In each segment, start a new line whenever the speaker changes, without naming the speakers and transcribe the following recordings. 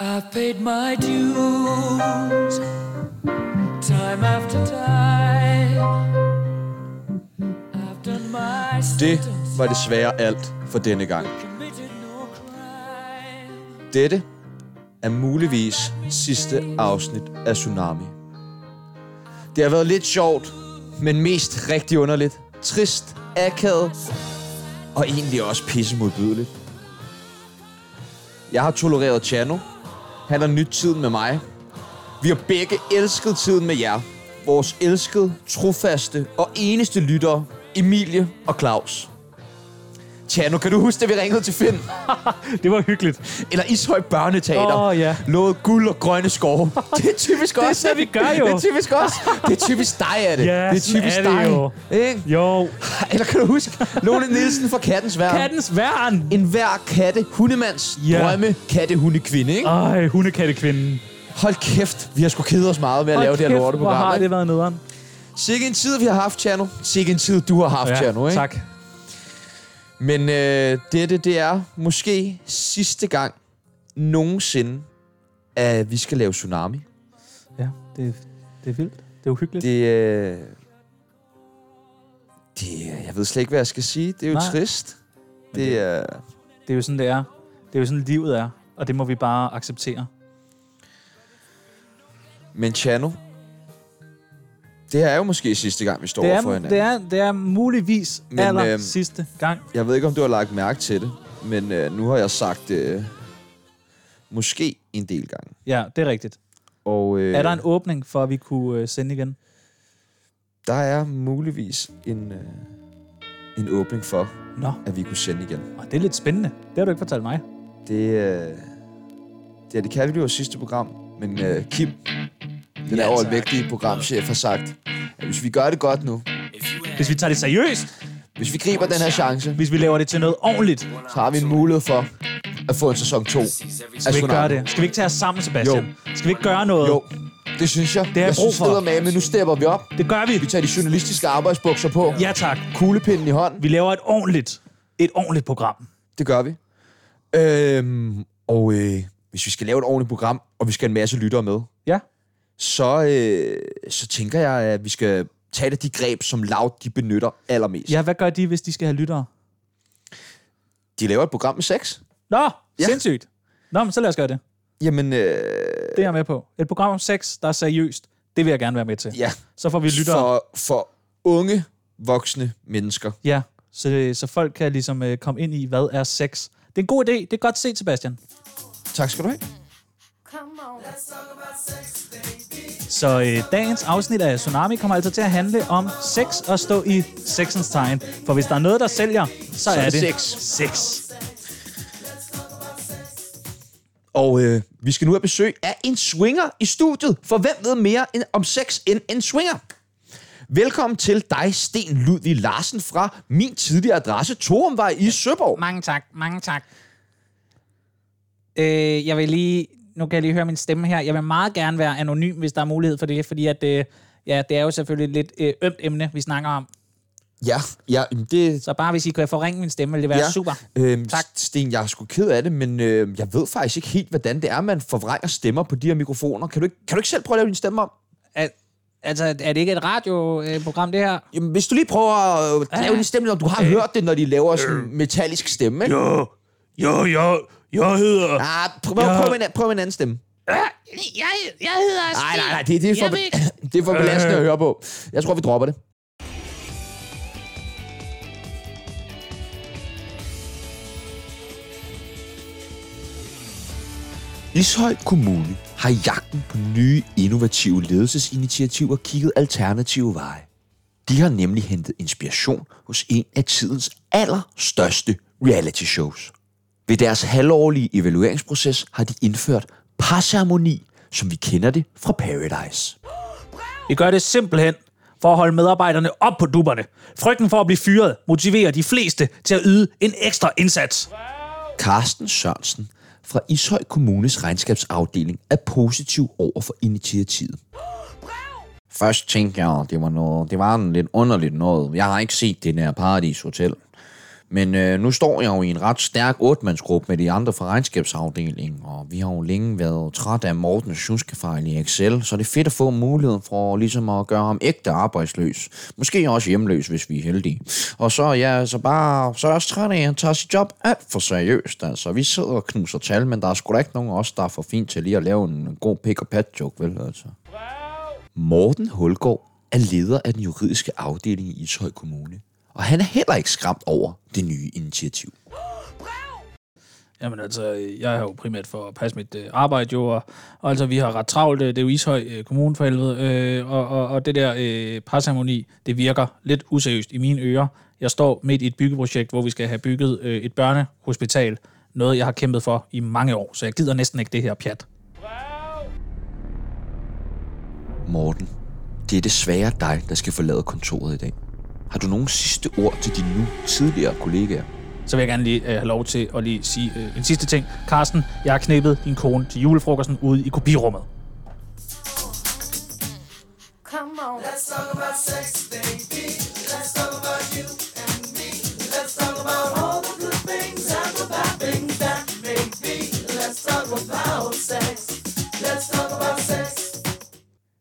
I've paid my dues time after time. I've done my
Det
sentence,
var desværre alt for denne gang.
committed no crime.
Dette er muligvis sidste afsnit af Tsunami. Det har været lidt sjovt, men mest rigtig underligt. Trist, akavet og egentlig også pissemodbydeligt. Jeg har tolereret Chano. Han har nyt tiden med mig. Vi har begge elsket tiden med jer. Vores elskede, trofaste og eneste lyttere, Emilie og Claus. Chano, kan du huske, at vi ringede til Finn?
Det var hyggeligt.
eller Ishøj Børneteater.
Åh, ja.
Lovet guld og grønne skove. Det er typisk
Det er
også.
det, vi gør jo.
Det er typisk også. Det er typisk dig, er det.
Ja,
det er
sådan
typisk
er det
dig.
jo.
Ikke?
Jo.
Eller kan du huske Lone Nielsen fra Kattens Værn?
Kattens værn.
En hver katte, hundemands,
Ja. Ah.
drømme, katte, hunde, kvinde, ikke?
Ej, hundekattekvinden.
Hold kæft, vi har sgu kedet os meget med at lave det her lorte
hvor har
program.
det været nederen.
Sikke en tid, vi har haft, Tjerno. Sikke en tid, du har haft, Tjerno, ikke?
tak.
Men øh, dette, det er måske sidste gang nogensinde, at vi skal lave Tsunami.
Ja, det, det er vildt. Det er uhyggeligt.
Det, øh, det, øh, jeg ved slet ikke, hvad jeg skal sige. Det er jo Nej.
Nej.
trist. Det
det-
er,
Det er jo sådan, det er. Det er jo sådan, livet er. Og det må vi bare acceptere.
men Chano, det her er jo måske sidste gang, vi står
Det
over for
er,
hinanden.
det, er, det er muligvis
Men,
Men, aller
øhm,
øhm, sidste gang.
Jeg ved ikke, om du har lagt mærke til det, men øh, nu har jeg sagt øh, måske en del gange.
Ja, det er rigtigt.
Og øh,
Er der en åbning for, at vi kunne øh, sende igen?
der er muligvis en, øh, en åbning for,
Nå,
at vi kunne sende igen.
og det er lidt spændende. Det har du ikke fortalt mig.
Det, øh, det er det kan blive vores sidste program, men øh, Kim, den ja,
Ja, tak.
overvægtige programchef, har sagt, at hvis vi gør det godt nu,
Hvis vi tager det seriøst,
hvis vi griber den her chance,
hvis vi laver det til noget ordentligt,
så har vi en mulighed for at få en sæson 2.
skal vi ikke gøre det. Skal vi ikke tage os sammen, Sebastian?
Jo.
Jo. Skal vi ikke gøre noget?
Jo, det synes jeg.
jeg
jeg
brug for.
synes, med, men nu stepper vi op.
Det gør vi.
Vi tager de journalistiske arbejdsbukser på.
Ja tak.
Kuglepinden i hånden.
Vi laver et ordentligt, et ordentligt program.
Det gør vi. Øhm, og øh, hvis vi skal lave et ordentligt program, og vi skal have en masse lyttere med,
Ja.
så, øh, så tænker jeg, at vi skal tage et af de greb, som Loud de benytter allermest.
Ja, hvad gør de, hvis de skal have lyttere?
De laver et program med sex.
Nå,
Ja.
ja. sindssygt. Nå, men så lad os gøre det.
Jamen, øh,
Det er jeg med på. Et program om sex, der er seriøst, det vil jeg gerne være med til.
ja.
Så får vi lyttere.
For, for unge, voksne mennesker.
Ja, så, det- så folk kan ligesom øh, komme ind i, hvad er sex. Det er en god idé. Det er godt set, Sebastian.
Tak skal du have.
Come on.
Så øh, dagens afsnit af Tsunami kommer altså til at handle om sex og stå i sexens tegn. For hvis der er noget, der sælger, så, så
er
er
det
det
sex.
sex.
Og øh, vi skal nu have besøg af en swinger i studiet. For hvem ved mere end, om sex end en swinger? Velkommen til dig, Sten Ludvig Larsen fra min tidligere adresse, Torumvej i Søborg.
Mange tak, mange tak. Øh, jeg vil lige, nu kan jeg lige høre min stemme her. Jeg vil meget gerne være anonym, hvis der er mulighed for det, fordi at, øh, ja, det er jo selvfølgelig et lidt øh, ømt emne, vi snakker om.
Ja, ja, jamen det,
Så bare hvis I kan forringe min stemme, ville det være
Ja.
ja. super.
Øhm, tak.
Tak.
Sten, jeg er sgu ked af det, men øh, jeg ved faktisk ikke helt, hvordan det er, man forvrænger stemmer på de her mikrofoner. Kan du ikke, kan du ikke selv prøve at lave din stemme om?
Al- altså, er det ikke et radioprogram, øh, det her?
Jamen, hvis du lige prøver at øh, lave din stemme, om du har hørt det, når de laver sådan en metallisk stemme. ikke?
Jo, jo, jo, jeg hedder...
Ah, prøv, prøv, prøv, med en, an- prøv med en anden stemme.
Jeg, jeg hedder
Nej, nej, nej, det, det, er for,
Jeg vil
det er for belastende at høre på. Jeg tror, vi dropper det. Ishøj Kommune har i jagten på nye innovative ledelsesinitiativer kigget alternative veje. De har nemlig hentet inspiration hos en af tidens allerstørste reality shows. Ved deres halvårlige evalueringsproces har de indført parsermoni, som vi kender det fra Paradise.
Vi gør det simpelthen for at holde medarbejderne op på dupperne. Frygten for at blive fyret motiverer de fleste til at yde en ekstra indsats.
Carsten Sørensen fra Ishøj Kommunes regnskabsafdeling er positiv over for initiativet. Først tænkte jeg, at det var, noget, det var en lidt underligt noget. Jeg har ikke set det der Paradis Hotel. Men øh, nu står jeg jo i en ret stærk otmandsgruppe med de andre fra regnskabsafdelingen, og vi har jo længe været træt af Mortens sjuskefejl i Excel, så det er fedt at få muligheden for ligesom at gøre ham ægte arbejdsløs. Måske også hjemløs, hvis vi er heldige. Og så er jeg altså bare, så er jeg også træt af, at han tager sit job alt for seriøst. Altså, vi sidder og knuser tal, men der er sgu da ikke nogen af os, der er for fint til lige at lave en god pick-up-pat-joke, vel altså? Morten Hulgaard er leder af den juridiske afdeling i Ishøj Kommune, og han er heller ikke skræmt over det nye initiativ.
Jamen altså, jeg er jo primært for at passe mit øh, arbejde jo, og, og altså, vi har ret travlt, øh, det er jo Ishøj øh, Kommune for helvede, øh, og, og, og det der øh, presharmoni, det virker lidt useriøst i mine ører. Jeg står midt i et byggeprojekt, hvor vi skal have bygget øh, et børnehospital, noget jeg har kæmpet for i mange år, så jeg gider næsten ikke det her pjat.
Morten, det er desværre dig, der skal forlade kontoret i dag. Har du nogle sidste ord til dine nu tidligere kollegaer?
så vil jeg gerne lige øh, have lov til at lige sige øh, en sidste ting. Carsten, jeg har knippet din kone til julefrokosten ude i kopirummet.
Come on.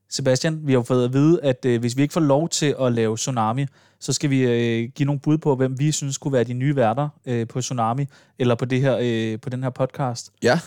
Sebastian, vi har jo fået at vide, at øh, hvis vi ikke får lov til at lave Tsunami, så skal vi øh, give nogle bud på, hvem vi synes kunne være de nye værter øh, på Tsunami, eller på, det her, øh, på den her podcast.
Ja,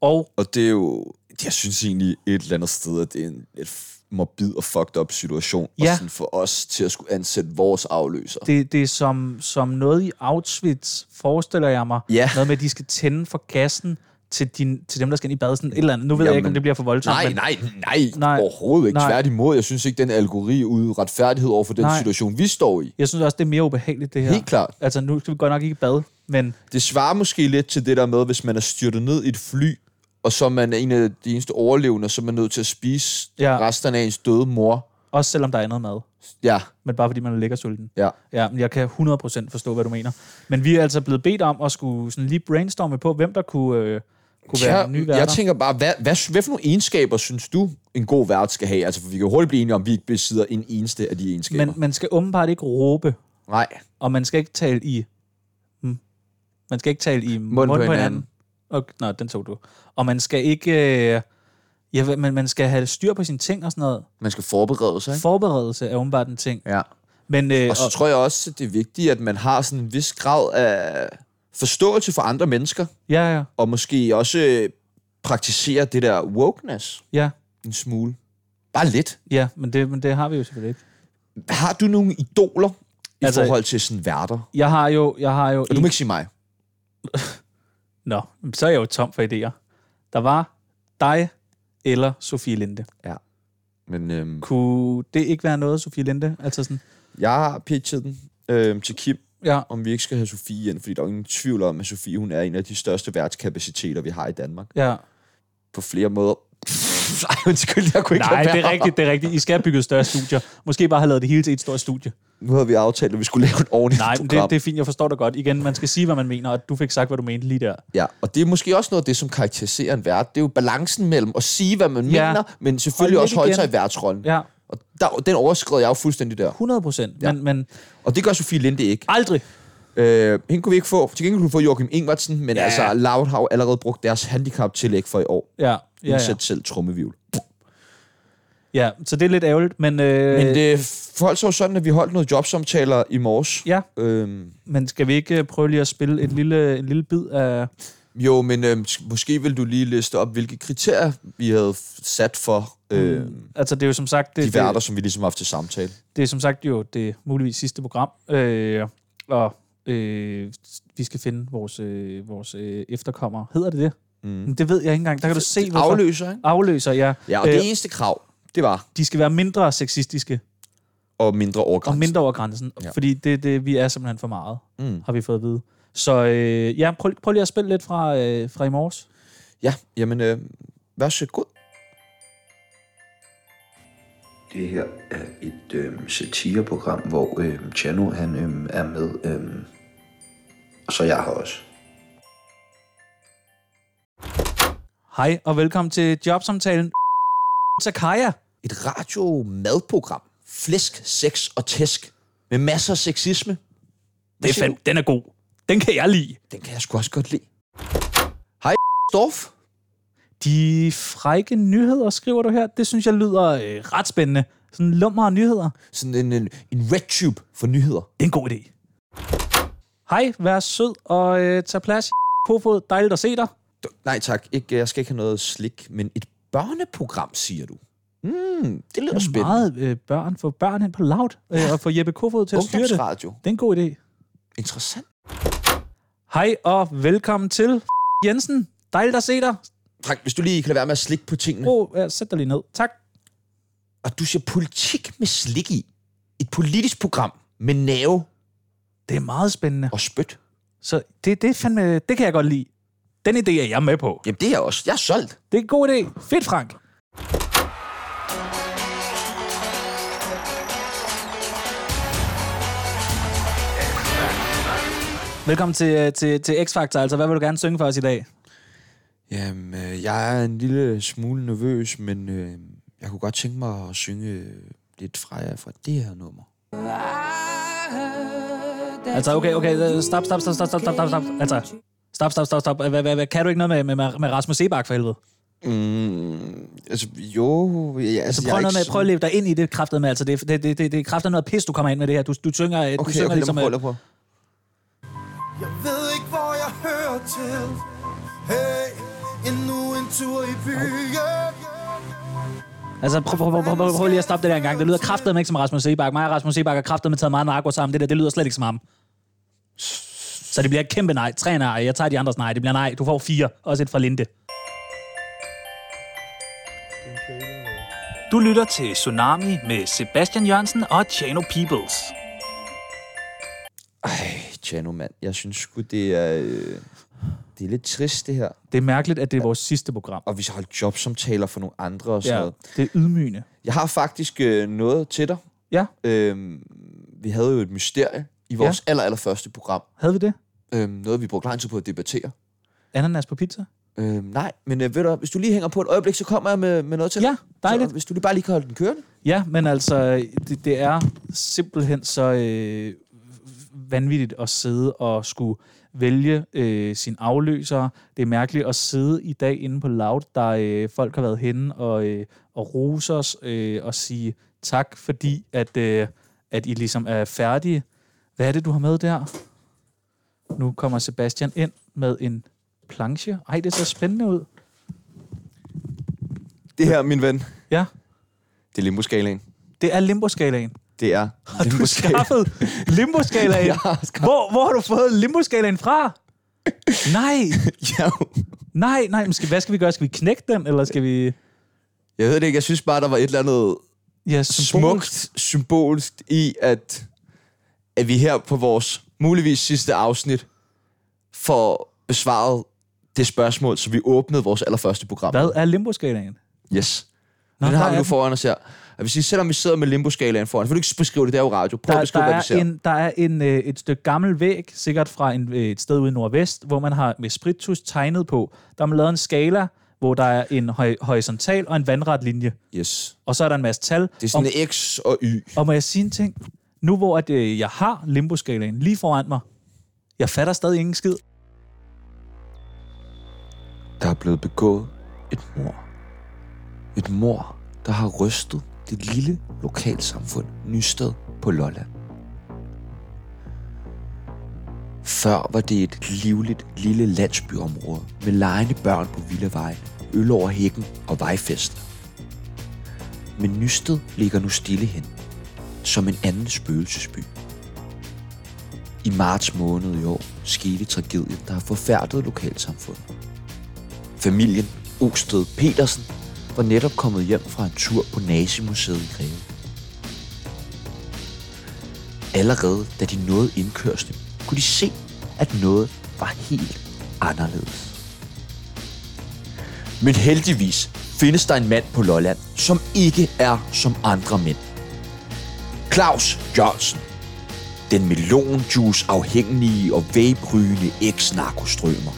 Og
og det er jo... Jeg synes egentlig et eller andet sted, at det er en et morbid og fucked up situation.
Ja.
sådan for os til at skulle ansætte vores afløser.
det, det er som, som noget i Auschwitz, forestiller jeg mig.
Ja.
Noget med, at de skal tænde for gassen til, din, til dem, der skal ind i bad. Sådan et eller andet. Nu ved jeg ikke, om
Jamen,
det bliver for voldsomt.
Nej,
men-
nej, nej,
Nej.
nej, overhovedet ikke.
Nej.
Nej. Tværtimod, jeg synes ikke, den algori ud retfærdighed over for den
Nej.
nej. situation, vi står i.
Jeg synes også, det er mere ubehageligt, det her.
Helt klart.
Altså, nu skal vi godt nok ikke i bad, men
Det svarer måske lidt til det der med, hvis man er styrtet ned i et fly, og så er man en af de eneste overlevende, så er man nødt til at spise
Ja.
ja. resten af ens døde mor.
også selvom der er andet mad.
Ja,
Men bare fordi man er lækker sulten.
ja.
Ja, men jeg kan 100% forstå, hvad du mener. Men vi er altså blevet bedt om at skulle sådan lige brainstorme på, hvem der kunne, øh, kunne være
Jeg,
den nye værter.
jeg tænker bare, hvad, hvad, hvad for nogle egenskaber synes du, en god vært skal have? Altså, for vi kan jo hurtigt blive enige om, at vi ikke besidder en eneste af de egenskaber.
men
Men,
man skal åbenbart ikke råbe,
Nej,
og man skal ikke tale i... Hmm. Man skal ikke tale i mund,
på
på hinanden.
hinanden.
Og, nå, den tog du. Og man skal ikke... Øh, ja, hvad- men man skal have styr på sine ting og sådan noget.
man skal forberede sig, ikke?
Forberedelse er åbenbart en ting.
Ja.
Men, øh,
Og så tror jeg også, at det er vigtigt, at man har sådan en vis grad af forståelse for andre mennesker,
ja, ja,
og måske også øh, praktisere det der wokeness
ja.
en smule. Bare lidt.
Ja, men det, men det har vi jo selvfølgelig ikke.
Har du nogle idoler i
Altså-
altså, forhold til sådan værter?
Jeg har jo... Jeg har jo
Og du må ikke sige mig.
Nå, så er jeg jo tom for idéer. Der var dig eller Sofie Linde.
Men øhm,
Kunne det ikke være noget, Sofie Linde? Altså sådan,
jeg har pitchet den øhm, til Kim,
ja,
om vi ikke skal have Sofie ind, fordi der er jo ingen tvivl om, at Sofie hun er en af de største værtskapaciteter, vi har i Danmark.
ja.
På flere måder. Ej, undskyld, jeg kunne ikke
Nej,
lade
det er
være.
rigtigt, det er rigtigt. I skal have bygget større studier. Måske bare have lavet det hele til et stort studie.
Nu havde vi aftalt, at vi skulle lave et ordentligt
Nej, men
program.
det, det er fint, jeg forstår dig godt. Igen, man skal sige, hvad man mener, og du fik sagt, hvad du mente lige der.
Ja, og det er måske også noget af det, som karakteriserer en vært. Det er jo balancen mellem at sige, hvad man
Ja.
ja. mener, men selvfølgelig
Og lidt
også holde
igen.
sig i værtsrollen.
Ja,
Og der, den overskred jeg jo fuldstændig der.
100 procent.
Ja.
Men, men
Og det gør Sofie Linde ikke.
aldrig.
Øh, hende kunne vi ikke få. Til gengæld kunne vi få Joachim Ingvartsen, men ja. altså Loud har jo allerede brugt deres handicap-tillæg for i år.
Ja, ja, ja.
Indsæt selv trummevivl.
ja, så det er lidt ærgerligt, men... Øh,
Men det forholdt sig jo sådan, at vi holdt nogle jobsamtaler i morges.
Ja,
Øhm,
men skal vi ikke øh, prøve lige at spille et lille, en lille bid af...
jo, men øhm, s- måske vil du lige liste op, hvilke kriterier vi havde f- sat for øhm,
Altså, det er jo som sagt... Det,
de værter, som vi ligesom har haft til samtale.
det er som sagt jo det muligvis sidste program, øh, og øh, vi skal finde vores, øh, vores øh, efterkommere. Hedder det det? Mm. Men det ved jeg ikke engang. Der kan du se, hvorfor...
Afløser, ikke?
Afløser, ja.
Ja, og øh, det eneste krav, det var
De skal være mindre sexistiske
og mindre overgrænse.
og mindre over grænsen, ja.
Ja.
fordi det, det, vi er simpelthen for meget, mm.
Mm.
har vi fået at vide. Så øh, ja, prøv, prøv lige at spille lidt fra, øh, fra i morges.
Ja, jamen, øh, vær så god.
Det her er et øhm, satireprogram, hvor øhm, Chano han øhm, er med, øhm, og så jeg har også.
Hej, og velkommen til jobsamtalen. Zakaria.
Et radio-madprogram. Flæsk, sex og tæsk. Med masser af sexisme.
Det er
siger
fandme, den er god. Den kan jeg lide.
Den kan jeg sgu også godt lide. Hej, Storf.
De frække nyheder, skriver du her, det synes jeg lyder øh, ret spændende. Sådan lummer nyheder.
Sådan en, en, en red tube for nyheder.
Det er en god idé. Hej, vær sød og øh, tag plads. Kofod, dejligt at se dig.
Du- Nej tak, ikke, jeg skal ikke have noget slik, men et børneprogram, siger du. Mm, det lyder spændende.
Meget øh, børn. Få børn hen på laut øh, og få Jeppe Kofod til at styre det. Det
Ungdomsradio.
er en god idé.
Interessant.
Hej og velkommen til Jensen. Dejligt at se dig.
Frank, hvis du lige kan lade være med at slikke på tingene.
Bro, ja, sæt dig lige ned. Tak.
Og du siger politik med slik i. Et politisk program med nerve
Det er meget spændende.
og spyt.
Så det, det, er fandme, det kan jeg godt lide. Den idé er jeg med på.
Jamen det er jeg også. Jeg er solgt.
Det er en god idé. Fedt, Frank. Velkommen til, øh, til, til X-Factor. Altså, hvad vil du gerne synge for os i dag?
Jamen, øh, jeg er en lille smule nervøs, men øh, jeg kunne godt tænke mig at synge øh, lidt fra jer fra det her nummer.
Altså, okay, okay. øh, Stop, stop, stop, stop, stop, stop, stop, stop. Altså, stop, stop, stop, stop. Hvad, hvad, hvad, kan du ikke noget med, med, med Rasmus Sebak for helvede?
Mm, altså, jo... Ja, altså,
Så
jeg er
prøv, noget
ikke
med,
sådan-
prøv at leve dig ind i det kraftede med. Altså, det, det, det, det, det kræfter noget pis, du kommer ind med det her. Du, du synger, okay, du
Okay,
synger
okay, lad
ligesom...
mig prøve,
øh,
lad mig prøve.
Jeg ved ikke, hvor jeg hører til Hey, endnu en tur i byen
Altså, prøv, prøv, prøv, prøv, prøv, prøv lige at stoppe det der engang. Det lyder kraftedeme ikke som Rasmus Sebak. Mig og Rasmus Sebak har kraftedeme taget meget narko sammen. Det der, det lyder slet ikke som ham. Så det bliver et kæmpe nej. Tre nej. Jeg tager de andres nej. Det bliver nej. Du får fire. Også et fra Linde.
Du lytter til Tsunami med Sebastian Jørgensen og Chano Peoples.
Ej, Tjano, mand. Jeg synes sgu, det er... Øh, det er lidt trist, det her.
Det er mærkeligt, at det er vores sidste program.
Og vi skal holde jobsamtaler for nogle andre og sådan ja.
Ja,
noget.
det er ydmygende.
Jeg har faktisk øh, noget til dig.
Ja,
Øhm, vi havde jo et mysterie i vores ja. aller, aller første program.
havde vi det?
Øhm, noget, vi brugte lang tid på at debattere.
Ananas på pizza?
Øhm, nej, men øh, ved du, hvad, hvis du lige hænger på et øjeblik, så kommer jeg med, med noget til
Ja,
dig.
dejligt.
Så, hvis du lige bare lige kan holde den kørende.
Ja, men altså, det, det er simpelthen så øh, vanvittigt at sidde og skulle vælge øh, sin afløser. Det er mærkeligt at sidde i dag inde på Loud, der øh, folk har været henne og, øh, og rose os øh, og sige tak, fordi at, øh, at I ligesom er færdige. Hvad er det, du har med der? Nu kommer Sebastian ind med en planche. Ej, det ser spændende ud.
Det her, min ven,
Ja,
det er limboskalaen.
det er limboskalaen.
Det er
Du har skaffet limboskalaen.
Jeg har skaffet-
hvor, hvor har du fået limboskalaen fra? Nej,
ja,
nej, nej. Men skal, hvad skal vi gøre? Skal vi knække den, eller skal vi...
jeg ved det ikke. Jeg synes bare, der var et eller andet
Ja, symbol-
smukt, symbolsk i, at, at vi her på vores muligvis sidste afsnit får besvaret det spørgsmål, så vi åbnede vores allerførste program.
Hvad er limboskalaen?
Yes.
Nå,
Nå, den
der
har vi
er
nu
den.
foran os her. Jeg vil sige, selvom vi sidder med limboskalaen foran, så vil du ikke beskrive det, der er jo radio. Prøv
Der,
at
der
beskrive, hvad vi
er,
ser.
en, der er en, øh, et stykke gammel væg, sikkert fra en, øh, et sted ude i Nordvest, hvor man har med spiritus tegnet på. Der har man lavet en skala, hvor der er en høj, horisontal og en vandret linje.
Yes.
Og så er der en masse tal.
Det er sådan en X og Y.
Og må jeg sige en ting? Nu hvor at, øh, jeg har limboskalaen lige foran mig, jeg fatter stadig ingen skid.
Der er blevet begået et mor. Et mor, der har rystet det lille lokalsamfund Nysted på Lolland. Før var det et livligt lille landsbyområde med lejende børn på Villavejen, øl over hækken og vejfester. Men Nysted ligger nu stille hen, som en anden spøgelsesby. I marts måned i år skete tragedien, der har forfærdet lokalsamfundet. Familien Osted Petersen var netop kommet hjem fra en tur på Nazimuseet i Greve. Allerede da de nåede indkørslen, kunne de se, at noget var helt anderledes. Men heldigvis findes der en mand på Lolland, som ikke er som andre mænd. Claus Jørgensen. Den melonjuice afhængige og vape-rygende eks-narkostrømer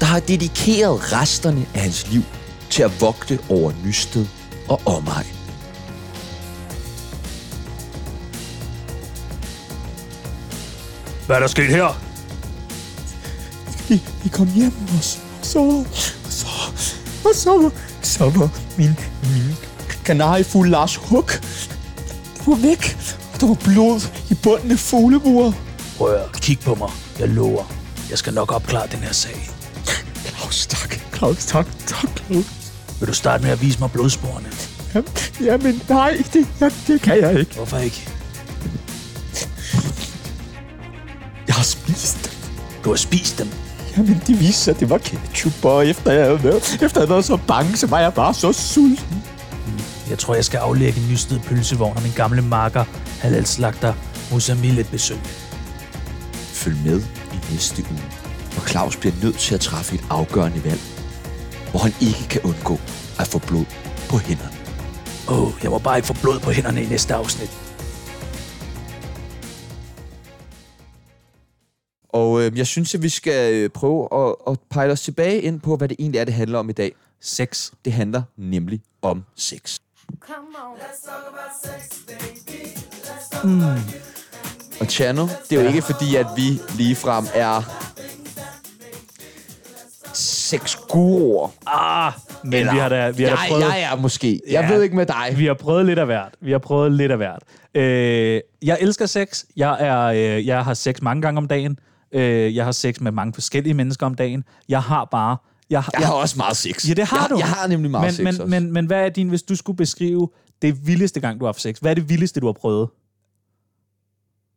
der har dedikeret resterne af hans liv til at vogte over Nysted og omegn.
Hvad er der sket her?
vi, vi kom hjem, og så, og så, og så, var- så var min, min kanariefugl Lars Huk, der var væk, og der var blod i bunden af fugleburet.
Prøv at kigge på mig. Jeg lover. Jeg skal nok opklare den her sag.
Claus, tak, Claus, tak, tak, Claus.
Vil du starte med at vise mig blodsporene?
Ja, Jamen, nej, det, jeg, det kan jeg ikke.
Hvorfor ikke?
Jeg har spist dem.
Du har spist dem.
Jamen, det viste sig, at det var ketchup, og efter jeg havde været, efter jeg havde været så bange, så var jeg bare så sulten.
Jeg tror, jeg skal aflægge en nysted pølsevogn og min gamle marker, halalslagter Musamil et besøg.
Følg med i næste uge, hvor Claus bliver nødt til at træffe et afgørende valg, hvor han ikke kan undgå at få blod på hænderne.
Åh, oh, jeg må bare ikke få blod på hænderne i næste afsnit.
Og øh, jeg synes, at vi skal øh, prøve at, at pejle os tilbage ind på, hvad det egentlig er, det handler om i dag.
Sex.
Det handler nemlig om sex.
Come on.
Og Chano, det er jo ja. ikke fordi, at vi ligefrem er sexguruer.
Ah, men
Eller-
vi har da, vi har da
jeg,
prøvet...
jeg er måske. Jeg
Ja.
ved ikke med dig.
Vi har prøvet lidt af hvert. Vi har prøvet lidt af hvert. Øh, jeg elsker sex. Jeg, er, øh, jeg har sex mange gange om dagen. Øh, jeg har sex med mange forskellige mennesker om dagen. Jeg har bare... Jeg, har-
Jeg har også meget sex.
Ja, det har
jeg,
du.
Jeg har nemlig meget
men,
sex
men,
også.
Men, men hvad er din, hvis du skulle beskrive det vildeste gang, du har haft sex? Hvad er det vildeste, du har prøvet?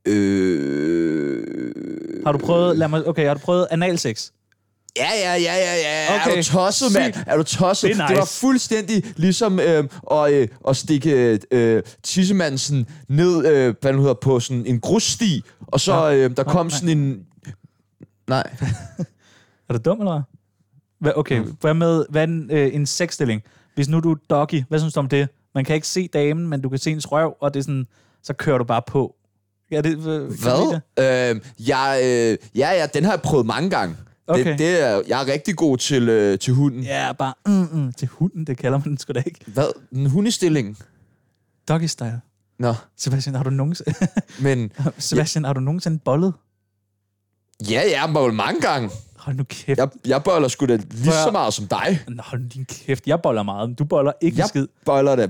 Øh...
Har du prøvet, lad mig, okay, har du prøvet analsex?
Ja, ja, ja, ja, ja. Okay. Er
Okay.
du tosset, mand?
Sygt.
Er du tosset?
Det er
det var
nice.
fuldstændig ligesom øh, at, øh, at stikke øh, tissemandsen ned øh, hvad den hedder, på sådan en grussti, og så øh, der kom sådan en... Nej.
Er du dum, eller hvad? hvad? Okay,
Mm.
hvad med hvad er en, øh, en sexstilling? Hvis nu du er doggy, hvad synes du om det? Man kan ikke se damen, men du kan se hendes røv, og det er sådan, så kører du bare på. Ja, det, øh, kan du lide
Hvad?
det?
Øh, jeg, øh, ja, ja, den har jeg prøvet mange gange. Okay.
Okay.
Det, det er, jeg er rigtig god til, øh, til hunden. Yeah.
Ja, bare mm, mm, til hunden, det kalder man den sgu da ikke.
Hvad? En hundestilling?
Doggy style.
Nå,
Sebastian, har du nogensinde,
men
Sebastian, har du nogensinde bollet?
ja, jeg har bollet mange gange.
Hold nu kæft.
Jeg, jeg boller sgu da lige
Prøv
så
at-
meget som dig.
Nå, hold nu din kæft. Jeg boller meget, men du boller ikke en
Jeg
skid.
boller da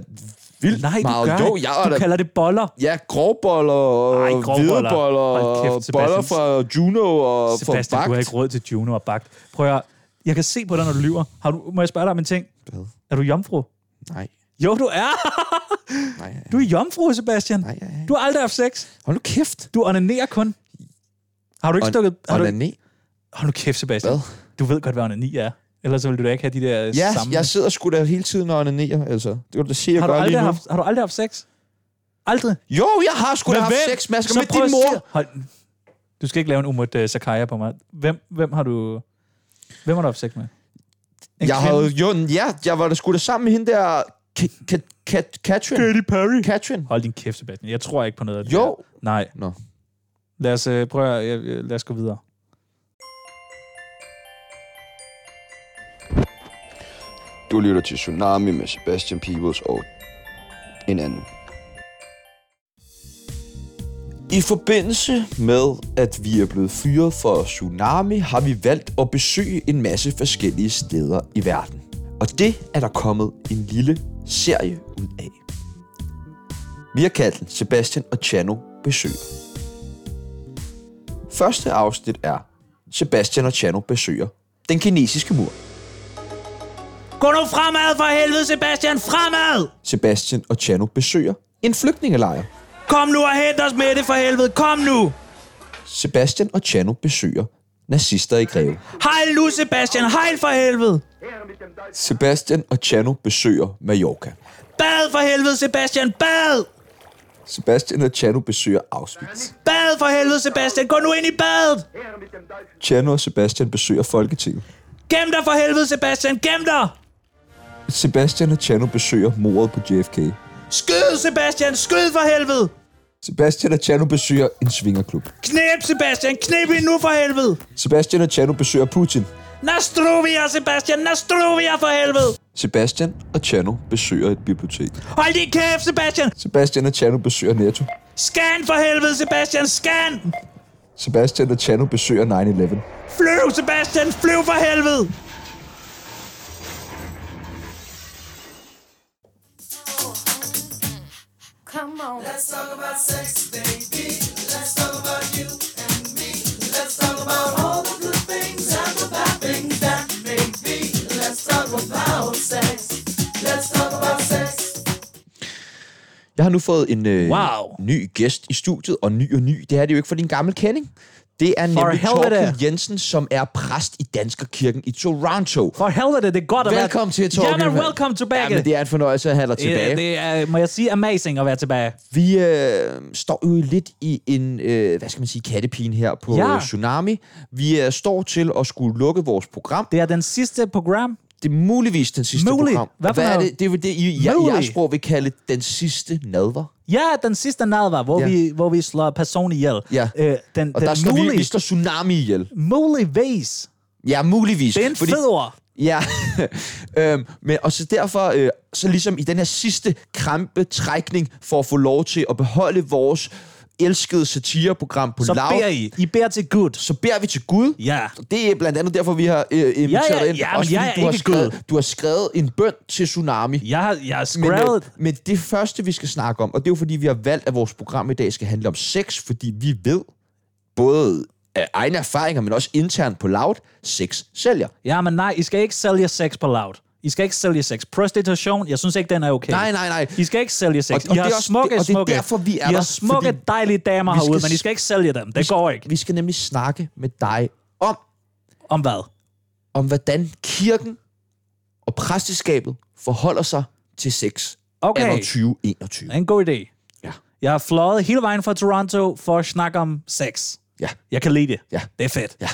vildt
Nej, du
meget.
gør
jo,
ikke.
jeg er
Du
da
kalder det boller.
Ja, grovboller og
Ej, grovboller.
hvideboller og
Hold kæft, Sebastian.
boller fra Juno og
Sebastian,
fra
du har
Bagt.
ikke råd til Juno og Bagt. Prøv at, høre. jeg kan se på dig, når du lyver. Har du, må jeg spørge dig om en ting?
Hvad?
Er du jomfru?
Nej,
Jo, du er.
nej, nej,
Du er jomfru, Sebastian.
nej, nej, nej.
Du har aldrig haft sex.
Hold nu kæft.
Du onanerer kun. Har du ikke
Og-
stukket... Har du,
Og ne.
hold nu kæft, Sebastian.
Hvad?
Du ved godt, hvad onani er. Ellers så ville du da ikke have de der
Ja,
samme...
jeg sidder sgu da hele tiden og onanerer, altså. Det kan du da se, jeg
har, du
gør lige
aldrig
nu.
haft, har du aldrig haft sex? Aldrig?
Jo, jeg har sgu da haft
hvem?
sex masker
Så
med
prøv
din
at
mor.
sige- Hold, du skal ikke lave en umut uh, Sakaya på mig. Hvem, hvem har du... Hvem har du haft sex med? En
Jeg
kvinde?
havde jo, ja, jeg var da sgu da sammen med hende der, Ka- Ka- Ka- Katrin.
Katy Perry.
Katrin.
Hold din kæft, Sebastian. Jeg tror ikke på noget af det
Jo.
der. Nej.
Nå.
Lad os øh, prøve at, øh, øh, lad os gå videre.
Du lytter til Tsunami med Sebastian Peebles og en anden.
I forbindelse med, at vi er blevet fyret for tsunami, har vi valgt at besøge en masse forskellige steder i verden. Og det er der kommet en lille serie ud af. Vi har kaldt den Sebastian og Chano besøger. Første afsnit er Sebastian og Chano besøger den kinesiske mur.
Gå nu fremad for helvede, Sebastian! Fremad!
Sebastian og Chano besøger en flygtningelejr.
Kom nu og hent os med det for helvede! Kom nu!
Sebastian og Chano besøger nazister i Greve.
Hejl nu, Sebastian! Hejl for helvede!
Sebastian og Chano besøger Mallorca.
Bad for helvede, Sebastian! Bad!
Sebastian og Chano besøger Auschwitz.
Bad for helvede, Sebastian! Gå nu ind i badet!
Chano og Sebastian besøger Folketinget.
Gem dig for helvede, Sebastian! Gem dig!
Sebastian og Chano besøger mordet på JFK.
Skyd, Sebastian! Skyd for helvede!
Sebastian og Chano besøger en svingerklub.
Knæb, Sebastian! Knæb hende nu for helvede!
Sebastian og Chano besøger Putin.
Nastrovia, Sebastian! Nastrovia for helvede!
Sebastian og Chano besøger et bibliotek.
Hold din kæft, Sebastian!
Sebastian og Chano besøger Netto.
Scan for helvede, Sebastian! Scan!
Sebastian og Chano besøger 9-11.
Flyv, Sebastian! Flyv for helvede!
Come on.
Jeg har nu fået en øh,
Wow.
ny gæst i studiet, og ny og ny, det er det jo ikke for din gammel kending. Det er
For
nemlig
helvede.
Torkel Jensen, som er præst i Danskerkirken i Toronto.
For helvede, det er godt at være...
Velkommen til, Torben.
Jamen, welcome tilbage.
Ja, men det er en fornøjelse at have dig tilbage.
Ja, det er, må jeg sige, amazing at være tilbage.
Vi øh, står jo lidt i en, øh, hvad skal man sige, kattepine her på
Ja.
ja. Tsunami. Vi øh, står til at skulle lukke vores program.
Det er den sidste program.
Det er muligvis den sidste
Muligt.
program.
Hvad for
er
noget?
det? Det er jo det, I, jeg,
Muligt.
jeres sprog vil kalde den sidste nadver.
Ja, den sidste nadver, hvor,
Ja.
vi, hvor vi slår personen ihjel.
Ja.
Øh, den,
Og
den
der står
mulige,
vi, vi står Tsunami ihjel.
muligvis.
Ja, muligvis.
Det er en
Fordi-
fed ord.
Ja, øhm, men, og så derfor, øh, så ligesom i den her sidste krampetrækning for at få lov til at beholde vores elskede satireprogram på
Så
lav,
beder I. I beder til Gud.
så beder vi til Gud.
Ja.
Det er blandt andet derfor, vi har øh, inviteret
Ja, ja,
dig ind.
ja, men
Også
jeg
fordi
er
du har,
ikke
skrevet, du har skrevet en bøn til Tsunami.
Jeg har, jeg har
Men, øh,
skrevet...
men det første, vi skal snakke om, og det er jo fordi, vi har valgt, at vores program i dag skal handle om sex, fordi vi ved, både af egne erfaringer, men også internt på Loud, sex sælger.
Ja, men nej, I skal ikke sælge sex på loud. I skal ikke sælge sex. Prostitution, jeg synes ikke, den er okay.
Nej, nej, nej.
I skal ikke sælge sex.
Og- og
I har
det er også-
smukke,
det- og det er
smukke.
derfor, vi er
I har
der,
smukke,
fordi
dejlige damer
vi skal
herude, men
s-
I skal ikke sælge dem. Det går ikke.
Vi skal nemlig snakke med dig om,
Om hvad?
om hvordan kirken og præsteskabet forholder sig til sex
Okay.
anno 2021.
Det er en god idé.
Ja.
Jeg har fløjet hele vejen fra Toronto for at snakke om sex.
Ja.
Jeg kan lide det.
Ja.
Det er fedt.
Ja.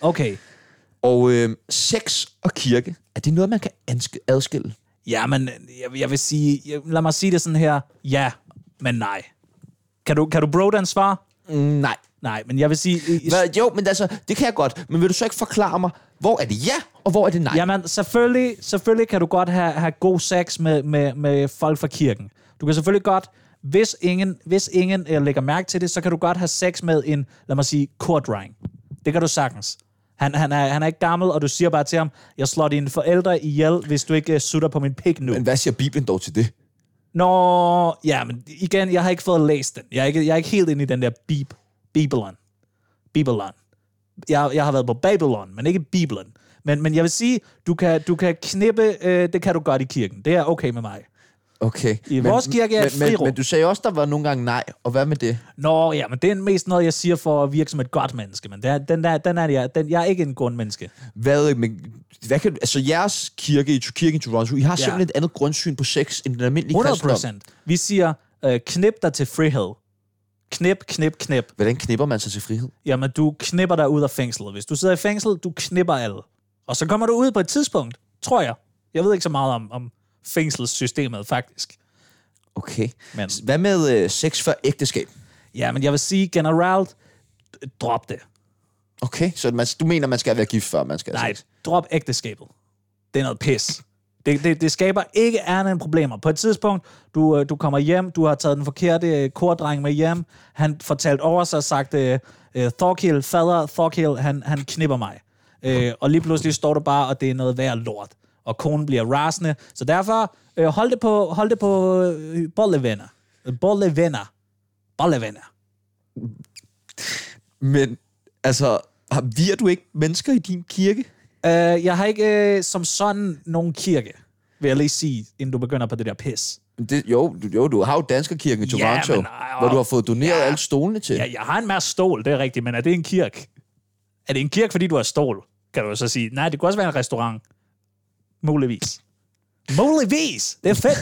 Okay.
Og øh, sex og kirke, er det noget, man kan anske- adskille?
Ja, men jeg, jeg vil sige... Jeg, lad mig sige det sådan her. Ja, men nej. Kan du, kan du bro den svar?
Nej.
Nej, men jeg vil sige... i- i-
Hvad, jo, men altså, det kan jeg godt. Men vil du så ikke forklare mig, hvor er det ja, og hvor er det nej?
Jamen, selvfølgelig, selvfølgelig kan du godt have, have god sex med, med, med folk fra kirken. Du kan selvfølgelig godt, hvis ingen, hvis ingen øh, lægger mærke til det, så kan du godt have sex med en, lad mig sige, kordreng. Det kan du sagtens. Han, han, er, han er ikke gammel, og du siger bare til ham, jeg slår dine forældre ihjel, hvis du ikke øh, sutter på min pik nu.
Men hvad siger Bibelen dog til det?
Nå, ja, men igen, jeg har ikke fået læst den. Jeg er ikke, jeg er ikke helt inde i den der bib, Bibelen. Bibelen. Jeg, jeg har været på Babylon, men ikke Bibelen. Men, men jeg vil sige, du kan, du kan knippe, øh, det kan du godt i kirken. Det er okay med mig.
Okay.
I vores kirke er et
men, men,
frirum.
men du sagde også, der var nogle gange nej, og hvad med det?
Nå, ja, men det er mest noget, jeg siger for at virke som et godt menneske. Men det er, den der, den er, jeg, den, jeg er ikke en god menneske.
Hvad, men, hvad kan, altså jeres kirke i kirken i Toronto, I har
Ja.
simpelthen et andet grundsyn på sex end den almindelige
100
kristendom.
Vi siger, øh, knip dig til frihed. Knip, knip, knip.
Hvordan knipper man sig til frihed?
jamen du knipper dig ud af fængslet. Hvis du sidder i fængsel, du knipper alle. Og så kommer du ud på et tidspunkt, tror jeg. Jeg ved ikke så meget om, om fængselssystemet, faktisk.
Okay.
Men-
Men. Hvad med øh, sex før ægteskab?
Ja, men jeg vil sige generelt, d- drop det.
Okay, så man, du mener, man skal være gift, før man skal have
Nej,
sex?
drop ægteskabet. Det er noget pis. Det, det, det skaber ikke andet end problemer. På et tidspunkt, du, øh, du kommer hjem, du har taget den forkerte øh, kordreng med hjem, han fortalte over sig og sagt, øh, øh, Thorkild, fader Thorkild, han, han knipper mig. Øh, og lige pludselig står du bare, og det er noget værd lort. Og konen bliver rasende. Så derfor, øh, hold det på, hold det på øh, bollevenner. Øh, Bollevenner. Bollevenner.
Men, altså, har- virer du ikke mennesker i din kirke?
Øh, jeg har ikke øh, som sådan nogen kirke, vil jeg lige sige, inden du begynder på det der pis.
Det, jo, du- jo, du har jo Danskerkirken i
Ja, men,
Toronto,
ej,
hvor du
åh,
har fået doneret
ja.
alle stolene til.
Ja, jeg har en masse stål, det er rigtigt, men er det en kirke? Er det en kirke, fordi du har stål? Kan du jo så sige. Nej, det kunne også være en restaurant. Muligvis. Muligvis! Det er fedt.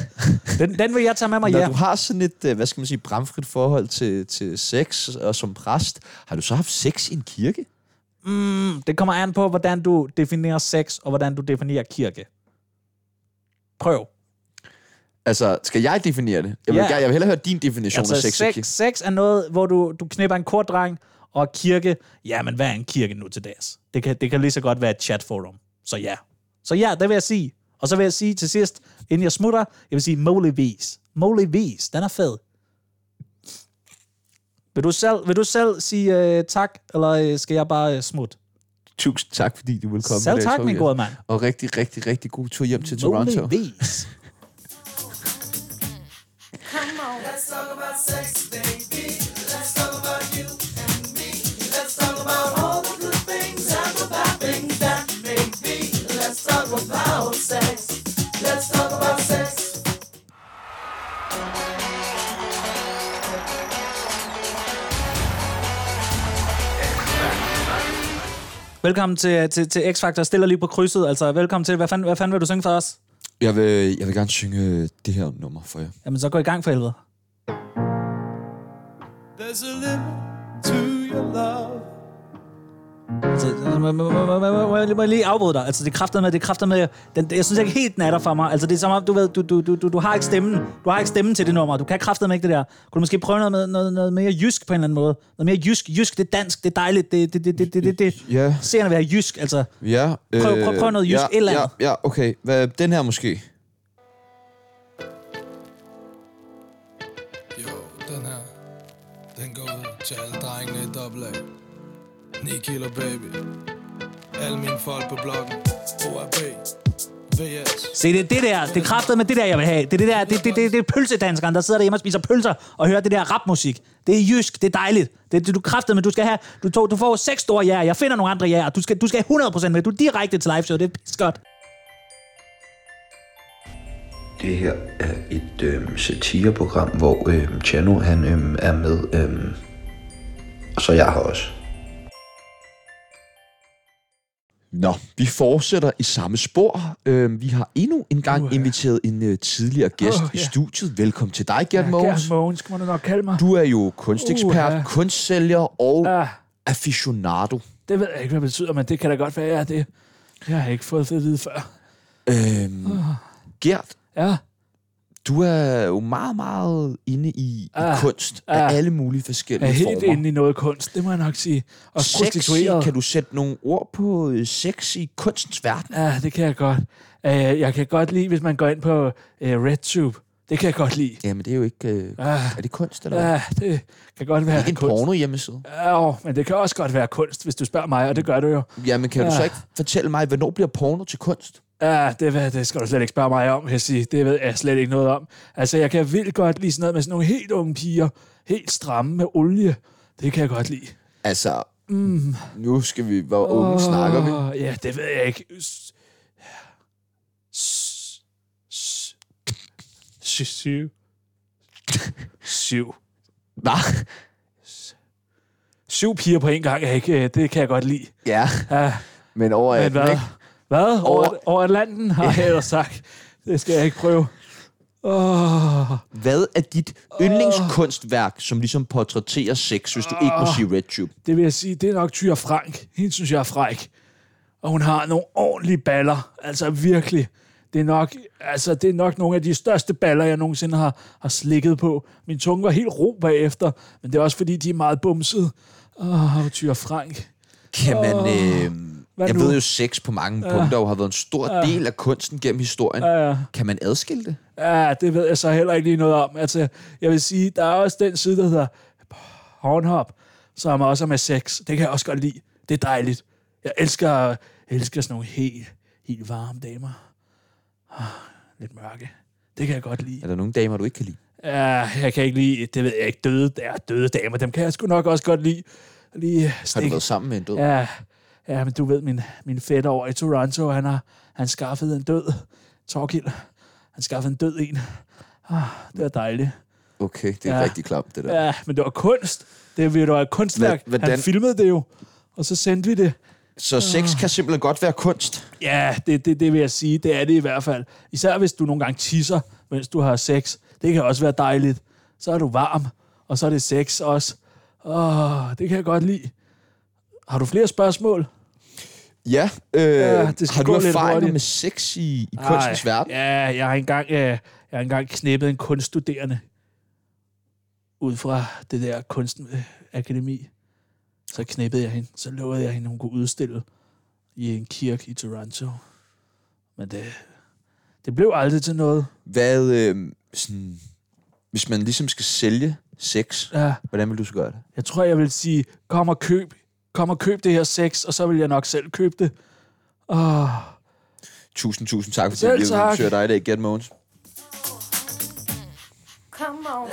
Den, den vil jeg tage med mig
Når
hjem.
du har sådan et, øh, hvad skal man sige, bramfrit forhold til, til sex og som præst, har du så haft sex i en kirke?
Det kommer an på, hvordan du definerer sex, og hvordan du definerer kirke. Prøv.
Altså, skal jeg definere det? Jeg vil,
Ja.
gerne- jeg vil hellere høre din definition af
Altså,
sex. i
sex,
kirke.
sex er noget, hvor du, du knipper en kort dreng, og kirke, ja, men hvad er en kirke nu til dags? Det kan, det kan lige så godt være et chatforum. Så ja. Så ja, det vil jeg sige. Og så vil jeg sige til sidst, inden jeg smutter, jeg vil sige muligvis. Muligvis, den er fed. Vil du selv, vil du selv sige øh, tak, eller øh, skal jeg bare øh, smutte?
Tusind tak, fordi du ville komme. i
Selv
dag,
tak,
Tobias.
min gode mand.
Og rigtig, rigtig, rigtig god tur hjem til Toronto.
Muligvis. Velkommen til, til, til X-Factor. Stiller lige på krydset. Altså, velkommen til. Hvad fanden, hvad fanden vil du synge for os?
Jeg vil, jeg vil gerne synge øh, det her nummer for jer.
Jamen, så gå i gang for helvede.
There's a limit to your love.
Altså, må- må- må- må- må- må jeg lige- må jeg lige afbryde dig? Altså, det kræfter med, det kræfter med. Den, jeg synes ikke helt den er der for mig. Altså, det er som om, du ved, du, du, du, du, du har ikke stemmen. Du har ikke stemmen til det nummer. Du kan kræfter med ikke det der. Kunne du måske prøve noget, med, noget, noget mere jysk på en eller anden måde? Noget mere jysk. Jysk, det er dansk. Det er dejligt. Det, det, det, det, det, det, det.
Ja.
Seerne vil have jysk, altså.
Ja, øh,
Prøv- prøv- prøv noget jysk,
ja,
et eller
ja,
andet.
ja, okay. Hvad, den her måske.
Jo, den her. Den går ud til alle drengene i dobbelt A. 9 kilo baby. Alle mine folk på bloggen. OAB. VS.
Se, det er det der. Det er kræfter med det der, jeg vil have. Det er det der. Det, det, det, det er pølsedanskeren, der sidder derhjemme og spiser pølser og hører det der rapmusik. Det er jysk. Det er dejligt. Det, det du kræfter med. Du skal have... Du, tog, du får seks store jæger. Jeg finder nogle andre jæger. Du skal, du skal have 100% med. Du er direkte til live show. Det er pis godt.
Det her er et øhm, satireprogram, hvor øhm, Chano han øhm, er med, øhm, og så jeg har også.
Nå, vi fortsætter i samme spor. Øhm, vi har endnu en gang uh, inviteret en øh, tidligere gæst uh, i studiet. Velkommen til dig, Gert Mogens.
Mogens, må du nok kalde mig.
Du er jo kunstekspert,
Uha.
kunstsælger og
Ah,
aficionado.
det ved jeg ikke, hvad det betyder, men det kan da godt være, ja, det. Jeg har ikke fået det at vide før.
Øhm,
Ah.
Gert,
Ja,
du er jo meget, meget inde i, i
Ah,
kunst
ah.
af alle mulige
jeg er
forskellige
helt
former.
inde i noget kunst, det må jeg nok sige. Og
Sexy,
prostitueret.
kan du sætte nogle ord på øh, sex i kunstens verden?
Ja, det kan jeg godt. Øh, jeg kan godt lide, hvis man går ind på øh, RedTube. Det kan jeg godt lide.
Jamen, det er jo ikke... Øh,
Ah.
er det kunst, eller hvad?
Ja, det kan godt være
Det er en
kunst.
porno hjemmeside.
Ja, jo, men det kan også godt være kunst, hvis du spørger mig, og det gør du jo.
Jamen, kan du så
Ja.
ikke fortælle mig, hvornår bliver porno til kunst?
Ja, det, ved- det skal du slet ikke spørge mig om, vil jeg sige. Det ved jeg slet ikke noget om. Altså, jeg kan vildt godt lide sådan noget med sådan nogle helt unge piger. Helt stramme med olie. Det kan jeg godt lide.
Altså, mm. nu skal vi... Hvor unge snakker vi?
Åh, Ja, det ved jeg ikke. S- s- s- sy- Syv. Syv.
Hvad?
Syv piger på en gang, er ikke, øh, det kan jeg godt lide.
Ja,
Ja,
men over
Ah. men
at
hvad?
ikke?
Hvad? Over,
Over-
over Atlanten har jeg ellers sagt. Det skal jeg ikke prøve. Åh,
Hvad er dit yndlingskunstværk, som ligesom portrætterer sex, hvis du ikke
Ah.
må sige RedTube?
det vil jeg sige, det er nok Tyre Frank. Hende synes jeg er fræk. Og hun har nogle ordentlige baller. Altså virkelig. Det er nok, altså, det er nok nogle af de største baller, jeg nogensinde har, har slikket på. Min tunge var helt ro bagefter, men det er også fordi, de er meget bumsede. Åh, oh, Tyre Frank.
Kan man... Øh,
Hvad
jeg
nu?
ved jo, sex på mange punkter jo har været en stor del af kunsten gennem historien. Kan man adskille det?
Ja, det ved jeg så heller ikke lige noget om. Altså, jeg vil sige, der er også den side, der hedder Pornhub, som også er med sex. Det kan jeg også godt lide. Det er dejligt. Jeg elsker, elsker sådan nogle helt, helt varme damer. Ah, Lidt mørke. Det kan jeg godt lide.
Er der nogle damer, du ikke kan lide?
Ja, jeg kan ikke lide, det ved jeg ikke, døde, ja, døde damer. Dem kan jeg sgu nok også godt lide. Lige
Har du
stik.
været sammen med en død?
Ja, ja, men du ved, min, min fætter over i Toronto, han har han skaffet en død. Torkild, han skaffede en død en. Ah, det var dejligt.
Okay, det er
Ja.
rigtig klamt, det der.
Ja, men det var kunst. Det var det var et kunstværk.
Hvad- hvordan-
Han filmede det jo, og så sendte vi det.
Så sex
Ah.
kan simpelthen godt være kunst.
Ja, det, det, det vil jeg sige. Det er det i hvert fald. Især hvis du nogle gange tisser, mens du har sex. Det kan også være dejligt. Så er du varm, og så er det sex også. Åh, det kan jeg godt lide. Har du flere spørgsmål?
Ja, øh, ja
det skal
har du
gå lidt
erfaringer
hurtigt.
med sex i, i kunstens
Ej,
verden?
Ja, jeg har engang, øh, jeg har engang knippet en kunststuderende ud fra det der kunstakademi. Så knippede jeg hende. Så lovede jeg hende, hun kunne udstille i en kirke i Toronto. Men det, det blev aldrig til noget.
Hvad, øh, sådan, Hvis man ligesom skal sælge sex,
Ja.
hvordan vil du så gøre det?
Jeg tror, jeg vil sige, kom og køb, kom og køb det her sex, og så vil jeg nok selv købe det. Åh,
Tusind, tusind tak, fordi
Selv
du blev
tak.
tak. dig i dag, Gert Mogens.
Come on.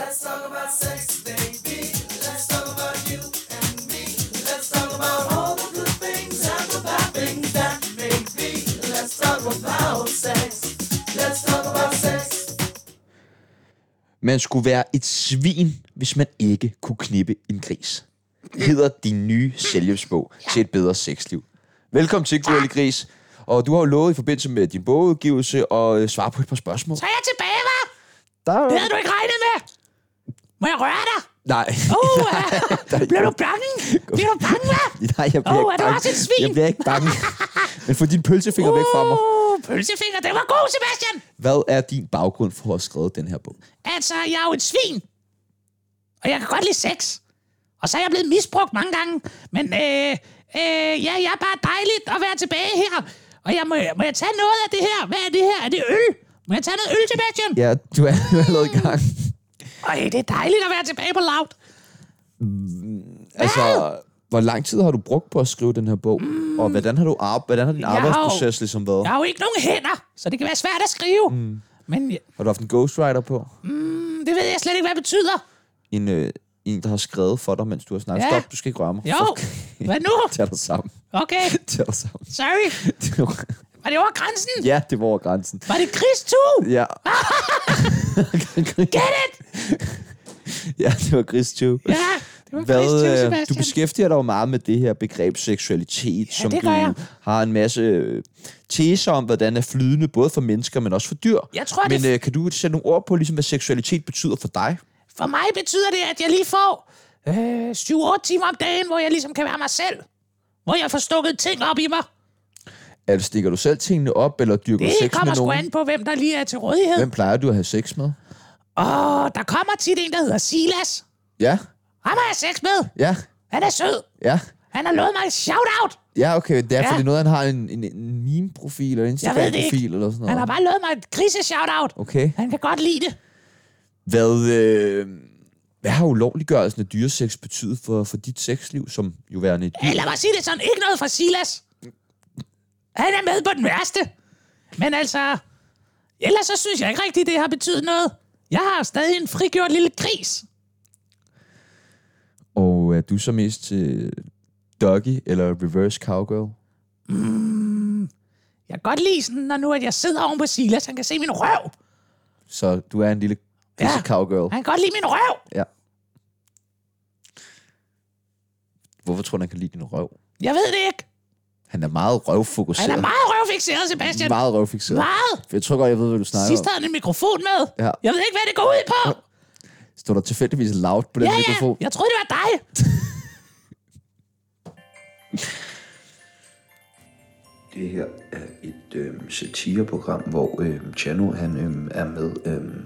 Man skulle være et svin, hvis man ikke kunne knippe en gris. Hedder din nye selvhjælpsbog til et bedre sexliv. Velkommen til, Gurli Gris. Og du har jo lovet i forbindelse med din bogudgivelse at øh, svare på et par spørgsmål.
Så er jeg tilbage, hva'?
Der...
Det havde du ikke regnet med. Må jeg røre dig?
Nej.
Uh, blev du bange? Blev du bange, hva'?
Nej, jeg bliver
Åh,
ikke
er du
bange.
også et svin?
Jeg bliver ikke bange. Men få din pølsefinger væk fra mig.
Uh, pølsefinger, det var god, Sebastian.
Hvad er din baggrund for at have skrevet den her bog?
Altså, jeg er jo et svin. Og jeg kan godt lide sex. Og så er jeg blevet misbrugt mange gange. Men øh, øh, ja, jeg er bare dejligt at være tilbage her. Og jeg må, må jeg tage noget af det her? Hvad er det her? Er det øl? Må jeg tage noget øl, Sebastian?
Ja, du er du er allerede i gang.
Ej, det er dejligt at være tilbage på laut.
Altså, hvor lang tid har du brugt på at skrive den her bog? Mm. Og hvordan har, du ar- hvordan har din
har jo-
arbejdsproces ligesom været?
Jeg har jo ikke nogen hænder, så det kan være svært at skrive. Mm. Men ja,
Har du haft en ghostwriter på?
mm, det ved jeg slet ikke, hvad det betyder.
En, øh, en, der har skrevet for dig, mens du har snakket?
Ja.
Stop, du skal ikke røre mig.
Jo, hvad nu?
Tag dig sammen.
Okay,
Tag dig sammen.
sorry.
Det var-
Var det over grænsen?
ja, det var over grænsen.
Var det krigstu?
Ja.
Get it!
ja, det var Christio.
Ja, det var krigstu,
Hvad, øh, du
Sebastian.
beskæftiger dig jo meget med det her begreb seksualitet, ja, som
det
du
gør jeg.
har en masse øh, teser om, hvordan er flydende, både for mennesker, men også for dyr.
Jeg tror,
men
det-
øh, kan du sætte nogle ord på, ligesom, hvad seksualitet betyder for dig?
For mig betyder det, at jeg lige får øh, 7-8 timer om dagen, hvor jeg ligesom kan være mig selv. Hvor jeg får stukket ting op i mig.
Altså, stikker du selv tingene op, eller dyrker du
Det
sex
kommer
med
sgu
nogen?
an på, hvem der lige er til rådighed.
Hvem plejer du at have sex med?
Åh, der kommer tit en, der hedder Silas.
Ja,
Ham har jeg sex med.
ja,
Han er sød.
ja.
Han har lovet mig et shout-out.
Ja, okay, det er
Ja.
ja. fordi noget, han har en, en, en meme-profil eller en Instagram-profil eller sådan noget.
Han har bare lovet mig et grise-shout-out.
Okay.
Han kan godt lide det.
Hvad, øh, hvad har ulovliggørelsen af dyresex betydet for, for dit sexliv, som jo værende et dyr?
Eller mig sige det sådan, ikke noget fra Silas. Han er med på den værste. Men altså, ellers så synes jeg ikke rigtigt, det har betydet noget. Jeg har stadig en frigjort lille gris.
Og er du så mest til doggy eller reverse cowgirl?
Jeg kan godt lide sådan, når nu at jeg sidder oven på Silas, han kan se min røv.
Så du er en lille pisse
Ja.
cowgirl.
Han kan godt lide min røv.
Ja. Hvorfor tror du, han kan lide din røv?
Jeg ved det ikke.
Han er meget røvfokuseret.
Han er meget røvfixeret, Sebastian.
meget røvfixeret.
Meget.
Jeg tror godt, jeg ved, hvad du snakker
Sidst
om.
havde han en mikrofon med.
Ja.
Jeg ved ikke, hvad det går ud på.
Stod der tilfældigvis loud på den
Ja, ja.
mikrofon?
Jeg troede, det var dig.
Det her er et øhm, satireprogram, hvor øhm, Chano han øhm, er med, øhm,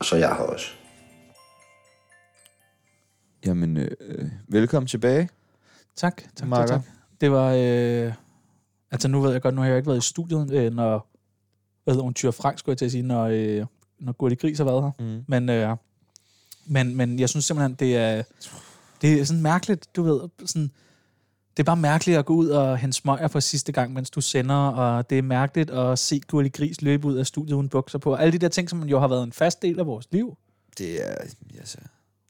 og så jeg har også.
Jamen, øh, velkommen tilbage.
tak, tak, tak,
Marker.
tak. Det var... Øh, altså, nu ved jeg godt, nu har jeg jo ikke været i studiet, øh, når... Hvad hedder hun? Tyre Frank, skulle jeg til at sige, når, øh, når Gurti Gris har været her.
Mm.
Men, øh, men, men jeg synes simpelthen, det er, det er sådan mærkeligt, du ved, sådan, det er bare mærkeligt at gå ud og hente smøger for sidste gang, mens du sender, og det er mærkeligt at se Gurli Gris løbe ud af studiet uden bukser på. Alle de der ting, som jo har været en fast del af vores liv.
Det er... Altså,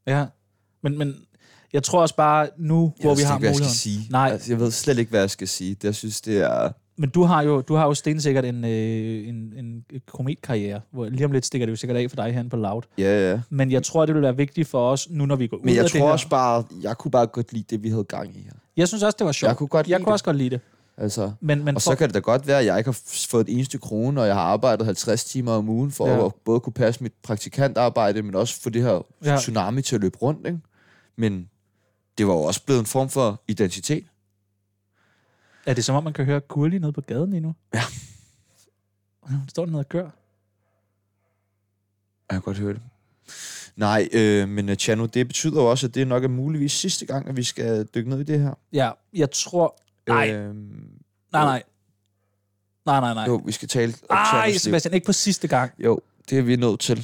Ja. Men, men jeg tror også bare, nu, hvor
ikke,
vi har
hvad jeg
muligheden.
skal sige.
Nej,
Altså, jeg ved slet ikke, hvad jeg skal sige. Det, jeg synes, det er...
men du har jo, du har jo stensikkert en, øh, en, en kometkarriere, hvor lige om lidt stikker det jo sikkert af for dig herinde på Loud.
Ja, ja.
Men jeg tror, det vil være vigtigt for os, nu når vi går ud
Men jeg
af det
tror
her.
også bare, jeg kunne bare godt lide det, vi havde gang i her.
Jeg synes også, det var sjovt.
Jeg kunne godt
jeg
lide
kunne
det.
også godt lide det.
Altså,
Men, men
og
for-
så kan det da godt være, at jeg ikke har f- fået et eneste krone, og jeg har arbejdet 50 timer om ugen, for
Ja.
ja. at både kunne passe mit praktikantarbejde, men også få det her
Ja.
ja. tsunami til at løbe rundt. Ikke? Men det var jo også blevet en form for identitet.
Er det som om, man kan høre Gurli nede på gaden endnu?
Ja.
Hun står dernede og gør.
Jeg kan godt høre det. Nej, øh, men øh, Chano, det betyder jo også, at det nok er muligvis sidste gang, at vi skal dykke ned i det her.
Ja, jeg tror... Nej.
Øh,
Nej, nej. Nej, nej, nej.
jo, vi skal tale om
Ej,
Chanos liv.
Sebastian, ikke på sidste gang.
Jo, det er vi nødt til.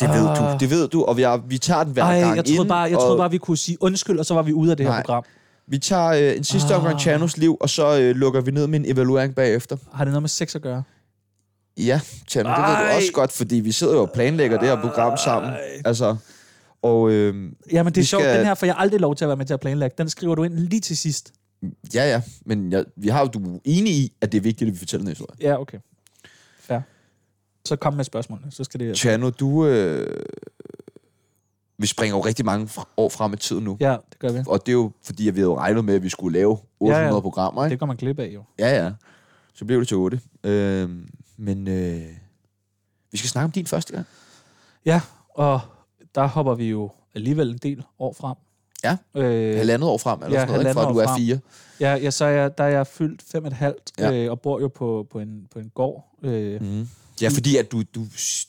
Det ved du, det ved du, og vi, er, vi tager den hver
Ah. Ej,
gang
jeg troede,
inden,
bare, jeg
og
troede bare, vi kunne sige undskyld, og så var vi ude af det her
Nej.
program.
Vi tager øh, en sidste omgang
Ah.
Chanos liv, og så øh, lukker vi ned med en evaluering bagefter.
Har det noget med sex at gøre?
Ja, Tjerno, det ved du også godt, fordi vi sidder jo og planlægger det her program sammen. Altså, og øh,
Jamen, det
Vi
er sjovt,
skal-
skal... den her, for jeg har aldrig lov til at være med til at planlægge. Den skriver du ind lige til sidst.
ja, ja, men jeg, vi har jo, du er enig i, at det er vigtigt, at vi fortæller den historie.
Ja, okay. Fair. Så kom med spørgsmålene, så skal det...
Tjerno, du... Øh, vi springer jo rigtig mange fra- år frem i tiden nu.
Ja, det gør vi.
Og det er jo, fordi jeg havde jo regnet med, at vi skulle lave 800
Ja, ja.
programmer, ikke?
Det går man glip af, jo.
Ja, ja. Så blev det til 8. Øh, men øh, vi skal snakke om din første gang.
Ja, og der hopper vi jo alligevel en del år frem.
Ja.
Øh,
Halvandet år frem, eller
ja,
ja, sådan noget, ikke?
halvandet
Fra du
år
er
frem.
fire.
ja, ja, så er jeg, der er jeg fyldt fem og et halvt,
Ja.
ja. øh, og bor jo på, på, en, på en gård. Øh,
Mm. Ja, fordi at du, du,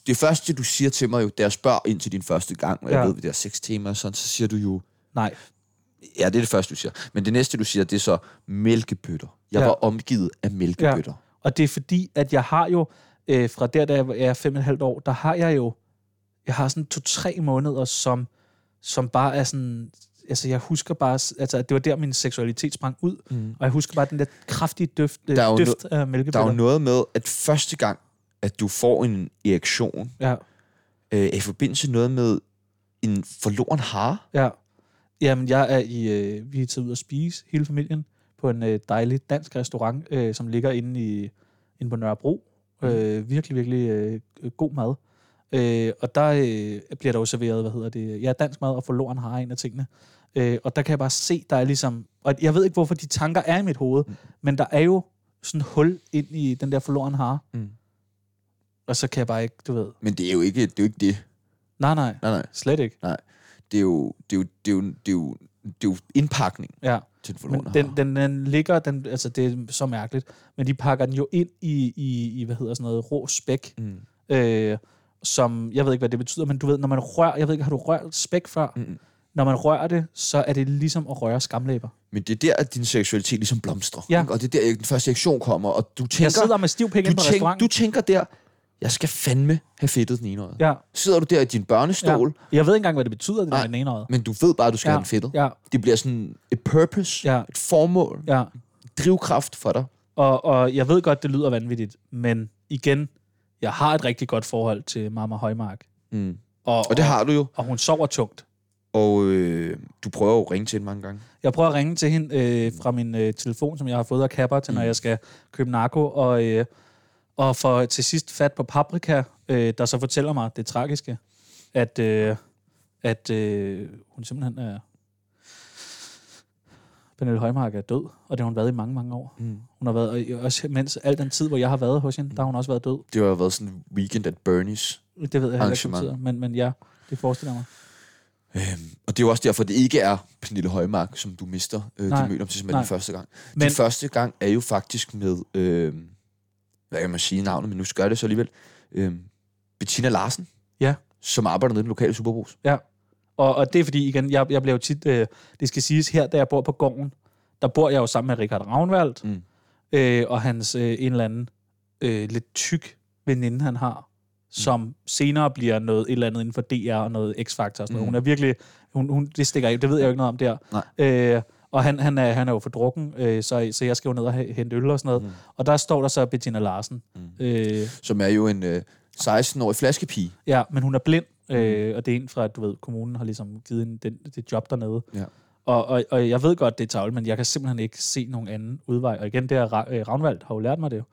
det første, du siger til mig jo, da jeg spørger ind til din første gang, og jeg
Ja.
ved, det er seks timer og sådan, så siger du jo,
nej,
ja, det er det første, du siger. Men det næste, du siger, det er så mælkebøtter. Jeg ja.
Ja.
var omgivet af mælkebøtter.
Og det er fordi, at jeg har jo, øh, fra der, da jeg er fem og et halvt år, der har jeg jo, jeg har sådan to-tre måneder, som, som bare er sådan, altså jeg husker bare, s- altså at det var der, min seksualitet sprang ud, mm. og jeg husker bare den der kraftige døft, øh,
Der er jo
døft af
Der er jo
mælkebøtter.
noget med, at første gang, at du får en erektion,
Ja,
øh, er i forbindelse med noget med en forloren hare.
ja. Jamen, jeg er i, øh, vi er taget ud at spise, hele familien, på en øh, dejlig dansk restaurant, øh, som ligger inde, i, inde på Nørrebro.
Mhm.
Øh, virkelig, virkelig øh, god mad. Øh, og der øh, bliver der jo serveret, hvad hedder det, ja, dansk mad, og forloren har en af tingene. Øh, og der kan jeg bare se, der er ligesom, og jeg ved ikke, hvorfor de tanker er i mit hoved, mm. men der er jo sådan et hul ind i den der forloren har.
Mm.
Og så kan jeg bare ikke, du ved,
Men det er jo ikke det. Er jo ikke det.
nej, nej,
Nej, nej.
slet ikke.
Det er jo, det er jo, det er jo, det er jo, det er jo indpakning
Ja.
til en forloren
Men
hare.
den, den, den ligger, den, altså det er så mærkeligt, men de pakker den jo ind i, i, i hvad hedder sådan noget, rå spæk,
Mm.
øh, som, jeg ved ikke, hvad det betyder, men du ved, når man rører, jeg ved ikke, har du rørt spæk før?
Mm.
Når man rører det, så er det ligesom at røre skamlæber.
Men det er der, at din seksualitet ligesom blomstrer.
Ja.
ikke? Og det er der, den første reaktion kommer, og du
Jeg
tænker,
sidder med stiv penge
du,
inde på
tænk, du
restauranten.
tænker der, jeg skal fandme have fedtet den ene øje.
Ja,
Sidder du der i din børnestol, ja.
ja. Jeg ved ikke engang, hvad det betyder, det
Nej.
der den ene øje.
men du ved bare, at du skal
Ja,
ja. have den fedtet.
ja.
Det bliver sådan et purpose,
Ja.
et formål,
Ja,
drivkraft for dig.
og, og jeg ved godt, det lyder vanvittigt, men igen, jeg har et rigtig godt forhold til Mama Højmark.
Mm.
Og,
Og det har du jo.
og hun sover tungt.
Og øh, du prøver jo at ringe til hende mange gange.
Jeg prøver at ringe til hende øh, fra min øh, telefon, som jeg har fået af Kapper, til når jeg skal købe narko, og, øh, og får til sidst fat på Paprika, øh, der så fortæller mig det tragiske, at, øh, at øh, hun simpelthen er... Pernille Højmark er død, og det har hun været i mange, mange år. Mm. Hun har været, og også mens al den tid, hvor jeg har været hos hende, der har hun også været død.
Det har jo været sådan en weekend at Bernie's.
Det ved jeg heller ikke, hvad
Arrangement.
det betyder, men, men ja, det forestiller jeg mig.
Øhm, og det er jo også derfor, det ikke er Pernille Højmark, som du mister øh,
Nej,
dit møde om til simpelthen
nej.
den første gang. Men,
Men-
din første gang er jo faktisk med, øh, hvad kan man sige navnet, men nu skal jeg det så alligevel, øh, Bettina Larsen,
Ja.
som arbejder nede i den lokale superbrus.
Og, og det er fordi, igen, jeg, jeg bliver jo tit, øh, det skal siges her, da jeg bor på gården, der bor jeg jo sammen med Richard Ravnvald,
Mm.
mm. øh, og hans øh, en eller anden øh, lidt tyk veninde, han har, som mm. senere bliver noget et eller andet inden for DR og noget X-Factor og sådan noget.
Mm.
Hun er virkelig, hun, hun, det stikker af, det ved jeg jo ikke noget om der. Øh, og han, han, er, han er jo for drukken, øh, så, så jeg skal jo ned og h- hente øl og sådan noget. Mm. Og der står der så Bettina Larsen. Mm. Øh,
Som er jo en øh, 16-årig flaskepige.
Ja, men hun er blind, øh, og det er en fra, at du ved, kommunen har ligesom givet hende den, det job dernede.
Ja.
Og, og, og jeg ved godt, det er tavle, men jeg kan simpelthen ikke se nogen anden udvej. Og igen, det er Ra- øh, Ravnvald har jo lært mig det jo.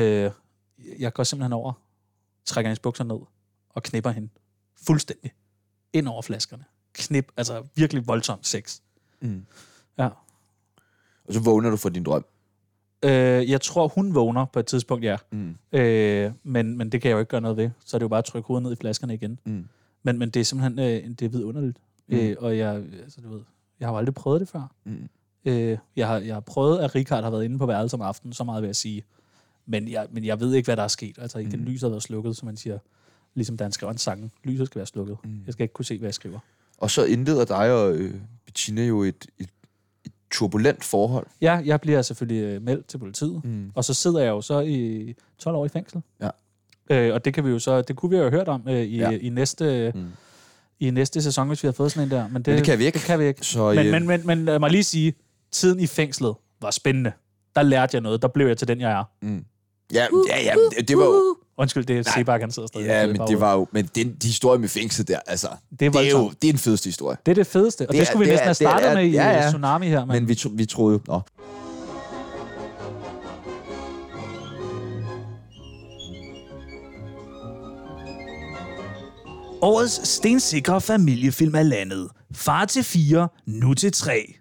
Øh, jeg går simpelthen over, trækker hendes bukser ned og knipper hende fuldstændig ind over flaskerne. Knip, altså virkelig voldsom sex.
Mm.
Ja.
Og så vågner du fra din drøm.
Øh, jeg tror, hun vågner på et tidspunkt, ja.
Mm.
Øh, men, men det kan jeg jo ikke gøre noget ved. Så er det jo bare at trykke hovedet ned i flaskerne igen.
Mm.
Men, men det er simpelthen øh, en- det er vidunderligt. Mm. Øh, og jeg, altså, du ved, jeg har jo aldrig prøvet det før.
Mm.
Øh, jeg, har, jeg har prøvet, at Richard har været inde på værelset om aftenen, så meget vil jeg sige. Men jeg, men jeg ved ikke, hvad der er sket. Altså, igen, mm. lyset har været slukket, som man siger. Ligesom da han skrev en sang, lyset skal være slukket. Mm. Jeg skal ikke kunne se, hvad jeg skriver.
Og så indleder dig og øh, Bettina jo et, et, et turbulent forhold.
Ja, jeg bliver selvfølgelig øh, meldt til politiet, mm. og så sidder jeg jo så i 12 år i fængsel.
Ja.
Øh, og det kan vi jo så, det kunne vi jo have hørt om øh, i, ja.
Ja.
i næste... Mm. i næste sæson, hvis vi havde fået sådan en der. Men det,
Men det kan vi ikke.
Det kan vi ikke.
Så,
men,
øh,
men, men, men lad mig lige sige, tiden i fængslet var spændende. Der lærte jeg noget. Der blev jeg til den, jeg er.
Ja,
Uh,
ja, ja, det, det var jo,
Undskyld, uh, det er Sebak, han sidder stadig.
ja,
i
men det
baggrunden.
var jo, men den, de historie med fængslet der, altså,
Det er
det, det er jo,
voldsomt.
det er den fedeste historie.
Det er det fedeste, og det,
Det
det
er-
skulle vi
det
næsten
er-
have
det er-
startet med i
ja,
ja,
ja.
ja. Tsunami her. Men,
Men vi, tro, vi troede jo, nå,
Årets stensikre familiefilm er landet. Far til fire, nu til tre.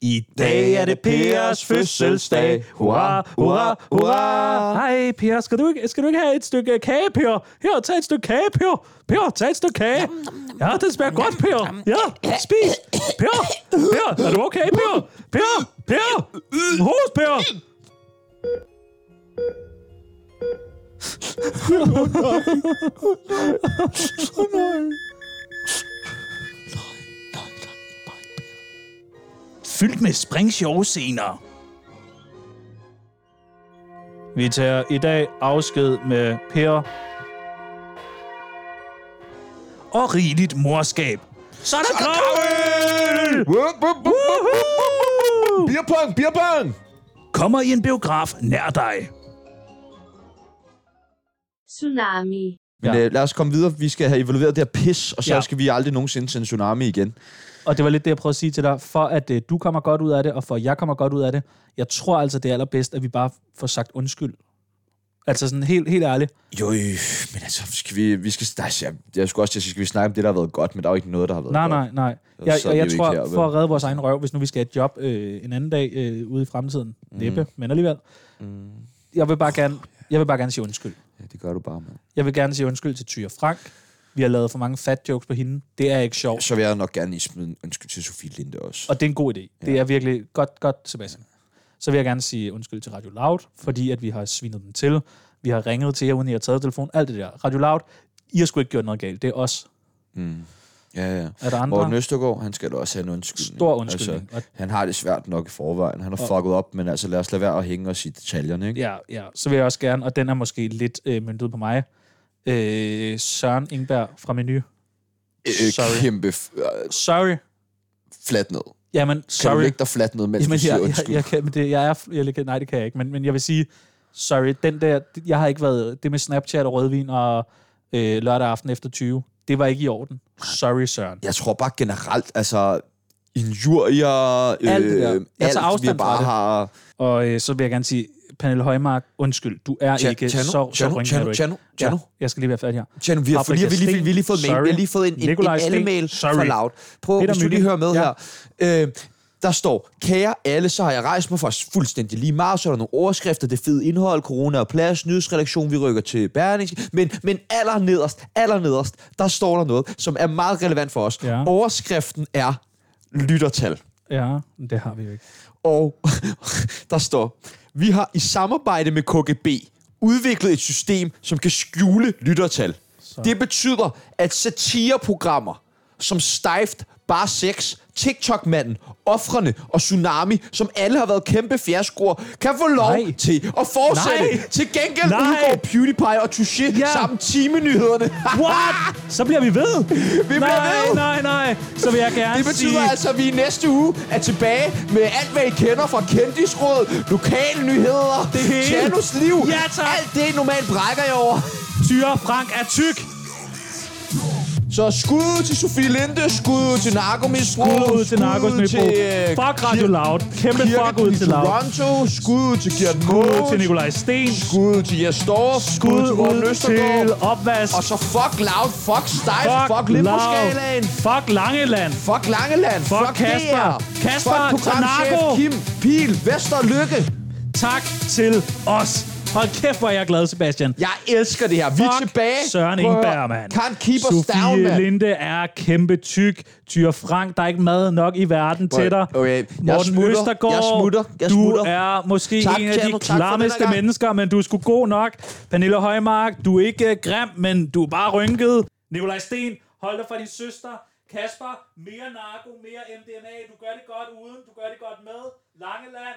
I dag er det Pers fødselsdag. Hurra, hurra, hurra.
Hej, Per, skal du, ikke, skal du ikke have et stykke kage, Per? Her, tag et stykke kage, Per. Per, tag et stykke kage. Ja, den smager godt, Per. Ja, spis. Per, Per, er du okay, Per? Per, Per, hos, Per.
Fyldt med springsjove scener.
Vi tager i dag afsked med Per.
Og rigeligt morskab. Så er der kravet!
Beerpong, beerpong!
Kommer i en biograf nær dig.
Tsunami.
men
Ja.
ja. øh, lad os komme videre. Vi skal have evalueret det her pis, og så
Ja.
ja. skal vi aldrig nogensinde sende tsunami igen.
Og det var lidt det, jeg prøvede at sige til dig, for at øh, du kommer godt ud af det, og for at jeg kommer godt ud af det. Jeg tror altså, det er allerbedst, at vi bare får sagt undskyld. Altså sådan helt, helt ærligt.
Jo, øh, men altså, skal vi, vi skal, nej, jeg, jeg skulle også til at sige, skal vi snakke om det, der har været godt, men der er jo ikke noget, der har været
Nej,
godt.
nej, nej.
Så
Jeg,
sad
og
vi
jeg
jo ikke
tror,
her, vel?
for at redde vores egen røv, hvis nu vi skal have et job øh, en anden dag øh, ude i fremtiden,
Mm.
næppe, men alligevel. Jeg vil bare gerne, jeg vil bare gerne sige undskyld.
Ja, det gør du bare, mand.
Jeg vil gerne sige undskyld til Tyre Frank. Vi har lavet for mange fat jokes på hende. Det er ikke sjovt.
Så vil jeg nok gerne lige smide en undskyld til Sofie Linde også.
Og det er en god idé. Ja. Det er virkelig godt, godt, Sebastian. Så vil jeg gerne sige undskyld til Radio Loud, fordi at vi har svinet dem til. Vi har ringet til jer, uden I har taget telefonen. Alt det der. Radio Loud, I har sgu ikke gjort noget galt. Det er os.
Ja, ja.
Er der andre?
Morten Østergaard, han skal da også have en undskyldning.
Stor undskyldning.
Altså, han har det svært nok i forvejen. Han har fucket op, men altså lad os lade være at hænge os i detaljerne, ikke?
Ja, ja. Så vil jeg også gerne, og den er måske lidt øh, myndet på mig, øh, Søren Ingberg fra Menu.
Øh,
sorry.
Kæmpe f- øh,
Sorry.
flat ned. Kan
Jamen,
du
sorry.
lægge dig flat ned, mens
Jamen,
du siger
jeg, jeg,
undskyld?
jeg, kan, men det, jeg er, jeg, kan- nej, det kan jeg ikke, men, men jeg vil sige, sorry, den der, jeg har ikke været, det med Snapchat og rødvin og øh, lørdag aften efter 20, det var ikke i orden. Sorry, Søren.
jeg tror bare generelt, altså injurier, alt, øh,
det der. Jeg tager
alt vi
afstand fra
bare
det.
har...
Og øh, så vil jeg gerne sige, Pernille Højmark, undskyld, du er
Tja-
ikke
Tjano,
så, så
Tjano,
ringende er
Tjano,
du ikke.
Tjano, Tjano.
Ja, jeg skal lige være færdig her.
Tjano, vi har, for lige, vi, har lige, vi, har lige fået mail.
Sorry.
Vi har lige fået en, en, en
Nikolaj Steen,
alle-mail fra
sorry.
Loud. Prøv,
Peter
hvis du lige
Mygind,
hører med
ja.
her. Øh, der står, kære alle, så har jeg rejst mig for fuldstændig lige meget, så er der nogle overskrifter, det fede indhold, corona og plads, nyhedsredaktion, vi rykker til Berlingske, men, men allernederst, allernederst, der står der noget, som er meget relevant for os.
Ja.
Overskriften er lyttertal.
Ja, men det har vi jo ikke.
Og der står, vi har i samarbejde med KGB udviklet et system, som kan skjule lyttertal. Så. Det betyder, at satireprogrammer som Steift, Bar 6, TikTok-manden, Offrene og Tsunami, som alle har været kæmpe fiaskoer, kan få lov
Nej.
Nej. til at fortsætte.
Nej.
Nej. Til gengæld
Nej.
Nej. udgår PewDiePie og Touché
Ja.
ja. samt timenyhederne.
What? Så bliver vi ved. vi
bliver
nej,
ved.
Nej, nej, Så vil jeg gerne
Det betyder
sige...
altså, at vi i næste uge er tilbage med alt, hvad I kender fra kendisråd, lokale nyheder,
Det hele.
Tjernos liv.
Ja, tak.
Alt det, I normalt brækker jeg over.
Tyre Frank er tyk.
Så skud ud til Sofie Linde, skud ud til narkomisbrug,
Skud ud til Narkos Nybrug. Fuck Radio Loud. Kæmpe fuck ud til Loud.
øh, Toronto, skud ud til Gert
Skud ud
Mogens,
til Nikolaj Sten.
skud ud til Jes Dorf, skud ud
Skud
til Morten
ud til
Østergaard.
opvask.
Og så fuck Loud, fuck Stejl, Altså, fuck Limboskalaen.
Fuck Langeland.
Fuck Langeland.
Fuck Kasper.
DR.
Kasper
fuck programchef
Tanako.
Kim Pil Vester Lykke.
Tak til os. Hold kæft, hvor er jeg glad, Sebastian.
Jeg elsker det her. Vi er
Fuck
tilbage.
Søren
Prøv at høre.
Ingberg, mand.
Can't keep us
Sofie
down, mand.
Linde er kæmpe tyk. Tyre Frank, der er ikke mad nok i verden til dig.
okay. Jeg
Morten
smutter.
Østergaard,
Jeg smutter. Jeg
du
smutter.
er måske
Tak,
en af de
Tjerno. Tak for
klammeste
den her gang.
mennesker, men du er sgu god nok. Pernille Højmark, du er ikke øh, grim, men du er bare rynket. Nikolaj Sten, hold dig fra din søster. Kasper, mere narko, mere MDMA. Du gør det godt uden, du gør det godt med. Langeland,